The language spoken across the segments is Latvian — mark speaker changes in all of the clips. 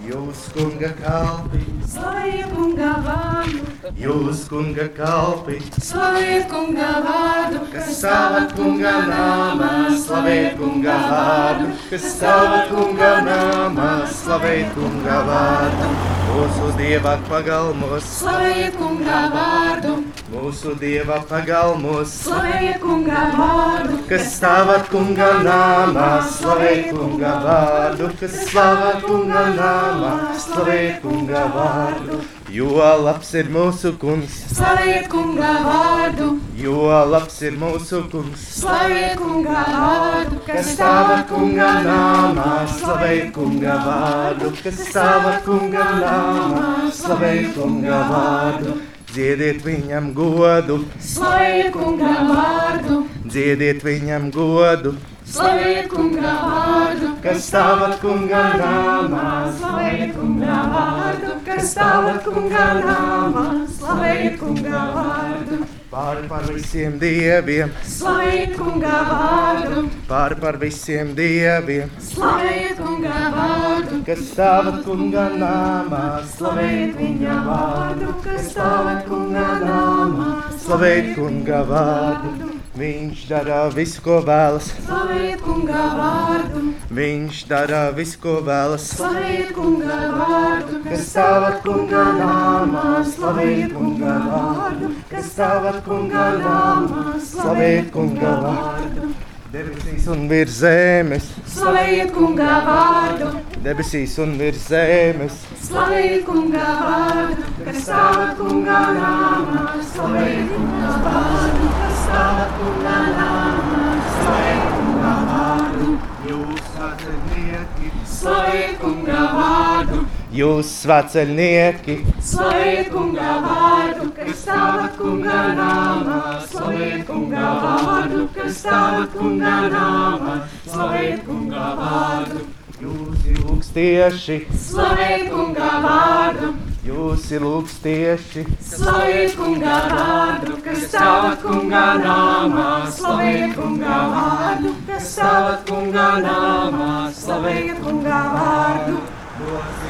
Speaker 1: Jūs, kunga kalpi,
Speaker 2: Slavējiet kunga vārdu,
Speaker 1: jūs, kunga kalpi,
Speaker 2: slavējiet kunga vārdu,
Speaker 1: kas stāvat kunga nāmā, slavējiet kunga vārdu, kas stāvat kunga nāmā, slavējiet kunga vārdu. Mūsu dieva pagalmos,
Speaker 2: Slavējiet kunga vārdu,
Speaker 1: mūsu dieva pagalmos,
Speaker 2: slavējiet kunga vārdu,
Speaker 1: kas stāvat kunga nāmā, slavējiet kunga vārdu, kas stāvat kunga nāmā, slavējiet kunga vārdu. Jo labs ir mūsu kungs,
Speaker 2: slavējiet kunga vārdu,
Speaker 1: jo labs ir mūsu kungs.
Speaker 2: slavējiet kunga vārdu,
Speaker 1: kas stāva kunga nāmā, slavēj kunga vārdu, kas stāva kunga nāmā, slavēj kunga vārdu. Dziediet viņam godu,
Speaker 2: slavējiet kunga vārdu,
Speaker 1: dziediet viņam godu,
Speaker 2: slavējiet kunga vārdu,
Speaker 1: kas stāva kunga nāmā,
Speaker 2: slavējiet kunga vārdu, kas stāv kunga nāmā, slavējiet kunga vārdu,
Speaker 1: pār par visiem dieviem,
Speaker 2: slavējiet kunga vārdu.
Speaker 1: pār par visiem dieviem,
Speaker 2: Slavējiet kunga vārdu,
Speaker 1: kas stāva kunga nāmā,
Speaker 2: slavējiet viņa vārdu, kas stāvēt kunga nāmā.
Speaker 1: slavēj kunga vārdu. Viņš dara visu, ko vēlas.
Speaker 2: Slavējiet kunga vārdu,
Speaker 1: Viņš dara visu, ko vēlas.
Speaker 2: slavējiet kunga vārdu,
Speaker 1: Kas stāvat kunga nāmā, slavējiet kunga vārdu. Kas stāvat kunga nāmā, slavējiet kunga vārdu. Debesīs un virs zemes,
Speaker 2: Slavējiet kunga vārdu,
Speaker 1: debesīs un virs zemes.
Speaker 2: slavējiet kunga vārdu, kas stāvēt kunga nāmā. Slavējiet kunga vārdu, kas stāvēt kunga nāmā. Slavējiet kunga vārdu,
Speaker 1: Jūs svēceļnieki,
Speaker 2: slavējiet kunga vārdu.
Speaker 1: jūs svēceļnieki,
Speaker 2: Slavējiet kunga vārdu, kas stāvat kunga nāmā, slavējiet kunga vārdu, kas stāvat kunga nāmā, slavējiet kunga vārdu,
Speaker 1: jūs ilgstieši,
Speaker 2: slavējiet kunga vārdu,
Speaker 1: jūs ilgstieši,
Speaker 2: slavējiet kunga vārdu, kas stāvat kunga nāmā, slavējiet kunga vārdu, kas stāvat kunga nāmā, slavējiet kunga vārdu.
Speaker 1: nosirds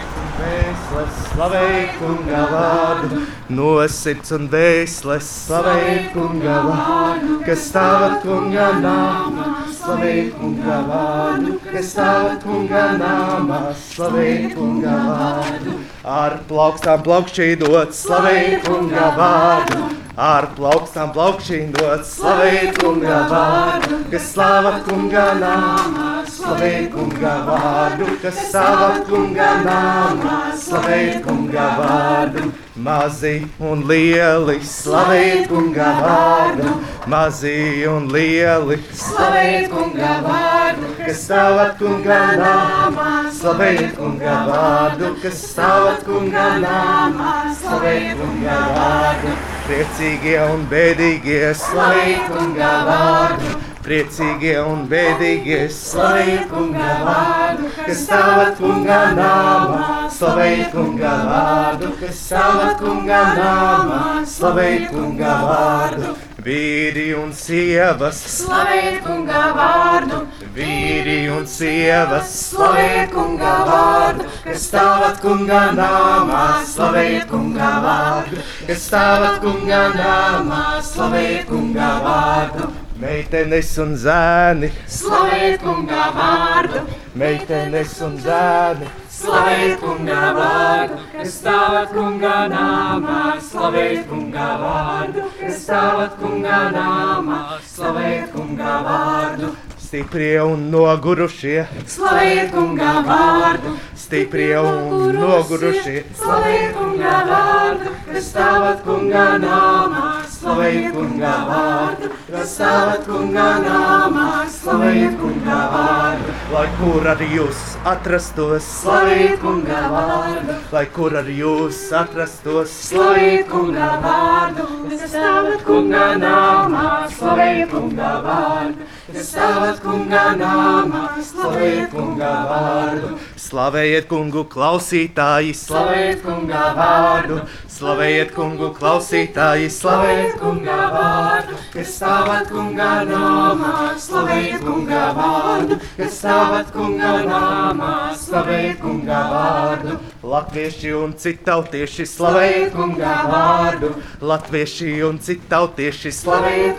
Speaker 1: un vēsles, slavējiet kunga vārdu. Nosirds un vēsles, slavējiet kunga vārdu, kas stāvat kunga nāmā, slavējiet kunga vārdu, kas stāvat kunga nāmā, slavējiet kunga vārdu. Ar plaukstām plaukšķīdot, slavējiet kunga vārdu. Ar plaukstām plaukšķīdot, slavējiet kunga vārdu, kas stāvat kunga nāmā. Slavēt kunga vārdu, kas savā kunga nāmā, slavēt kunga vārdu. Mazi un lieli, slavēt kunga vārdu, mazi un lieli,
Speaker 2: Slavējiet kunga vārdu,
Speaker 1: kas savā kunga nāmā, slavēt kunga vārdu, kas savā kunga nāmā, slavēt kunga vārdu. Priecīgie un bēdīgie, slavēt
Speaker 2: slavējiet kunga vārdu.
Speaker 1: Priecīgie un bēdīgie, slavējiet
Speaker 2: Slavējiet
Speaker 1: kunga vārdu, kas stāvat kunga nāmā, slavējiet kunga vārdu, kas stāvat kunga nāmā, slavējiet kunga vārdu. Vīri un sievas,
Speaker 2: Slavējiet kunga vārdu,
Speaker 1: vīri un sievas,
Speaker 2: slavējiet kunga vārdu,
Speaker 1: kas stāvat kunga nāmā, slavējiet kunga vārdu, kas stāvat kunga nāmā, slavējiet kunga vārdu. Meitenes un zēni,
Speaker 2: slavējiet kunga vārdu,
Speaker 1: meitenes un zēni,
Speaker 2: slavējiet kunga vārdu, kas stāvat kunga nāmā, slavējiet kunga vārdu, kas stāvat kunga nāmā, slavējiet kunga vārdu,
Speaker 1: stiprie un nogurušie,
Speaker 2: slavējiet kunga vārdu,
Speaker 1: stiprie un nogurušie,
Speaker 2: slavējiet kunga vārdu, kas stāvat kunga nāmā, slavējiet kunga vārdu, kas stāvat kunga nāmā, slavējiet kunga vārdu.
Speaker 1: lai kur arī jūs atrastos,
Speaker 2: Slavējiet kunga vārdu,
Speaker 1: lai kur arī jūs atrastos,
Speaker 2: slavējiet kunga vārdu, kas stāvat kunga nāmā, slavējiet kunga vārdu, kas stāvat kunga nāmā, slavējiet kunga vārdu,
Speaker 1: slavējiet kungu klausītāji,
Speaker 2: slavējiet kunga vārdu,
Speaker 1: slavējiet kungu klausītāji,
Speaker 2: slavējiet
Speaker 1: slavējiet
Speaker 2: kunga vārdu, kas stāvat kunga nāmā, slavējiet kunga vārdu, kas stāvat stāvat kunga nāmā, slavēt kunga vārdu,
Speaker 1: Latvieši un citautieši
Speaker 2: slavēt
Speaker 1: slavēt
Speaker 2: kunga vārdu,
Speaker 1: Latvieši un citautieši slavēt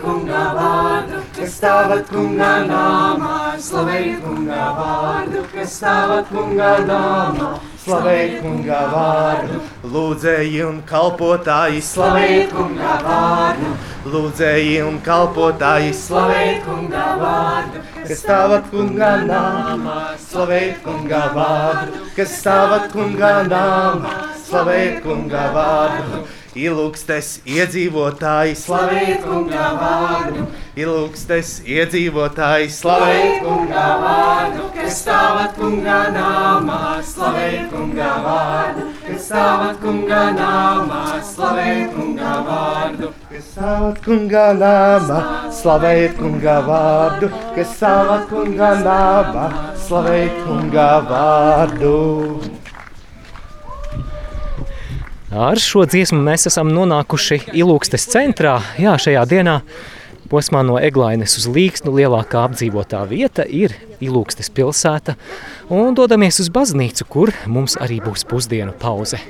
Speaker 2: slavēt kunga vārdu, kas stāvat kunga nāmā, slavēt kunga vārdu, kas stāvat kunga nāmā,
Speaker 1: Slavēt kunga vārdu, lūdzēji un kalpotāji
Speaker 2: slavēt
Speaker 1: slavēt,
Speaker 2: kunga vārdu,
Speaker 1: lūdzēji un kalpotāji slavēt,
Speaker 2: slavēt kunga vārdu,
Speaker 1: kas stāvat kunga nāmā, slavēt kunga vārdu, kas stāvat kunga nāmā, slavēt kunga vārdu. Ilūgstes iedzīvotāji
Speaker 2: slavēt
Speaker 1: slavēt,
Speaker 2: kunga vārdu.
Speaker 1: ilūgstes iedzīvotāji slavēt,
Speaker 2: Slavēt kunga vārdu, kas stāvat kunga nāmā, slavēt kunga vārdu, kas stāvat kunga nāmā, slavēt kunga vārdu,
Speaker 1: kas stāvat kunga nāmā, slavēt kunga vārdu, kas stāvat kunga nāmā, slavēt kunga vārdu.
Speaker 3: Ar šo dziesmu mēs esam nonākuši Ilūgstes centrā. Jā, šajā dienā posmā no Eglainas uz Līksnu lielākā apdzīvotā vieta ir Ilūgstes pilsēta. Un dodamies uz baznīcu, kur mums arī būs pusdienu pauze.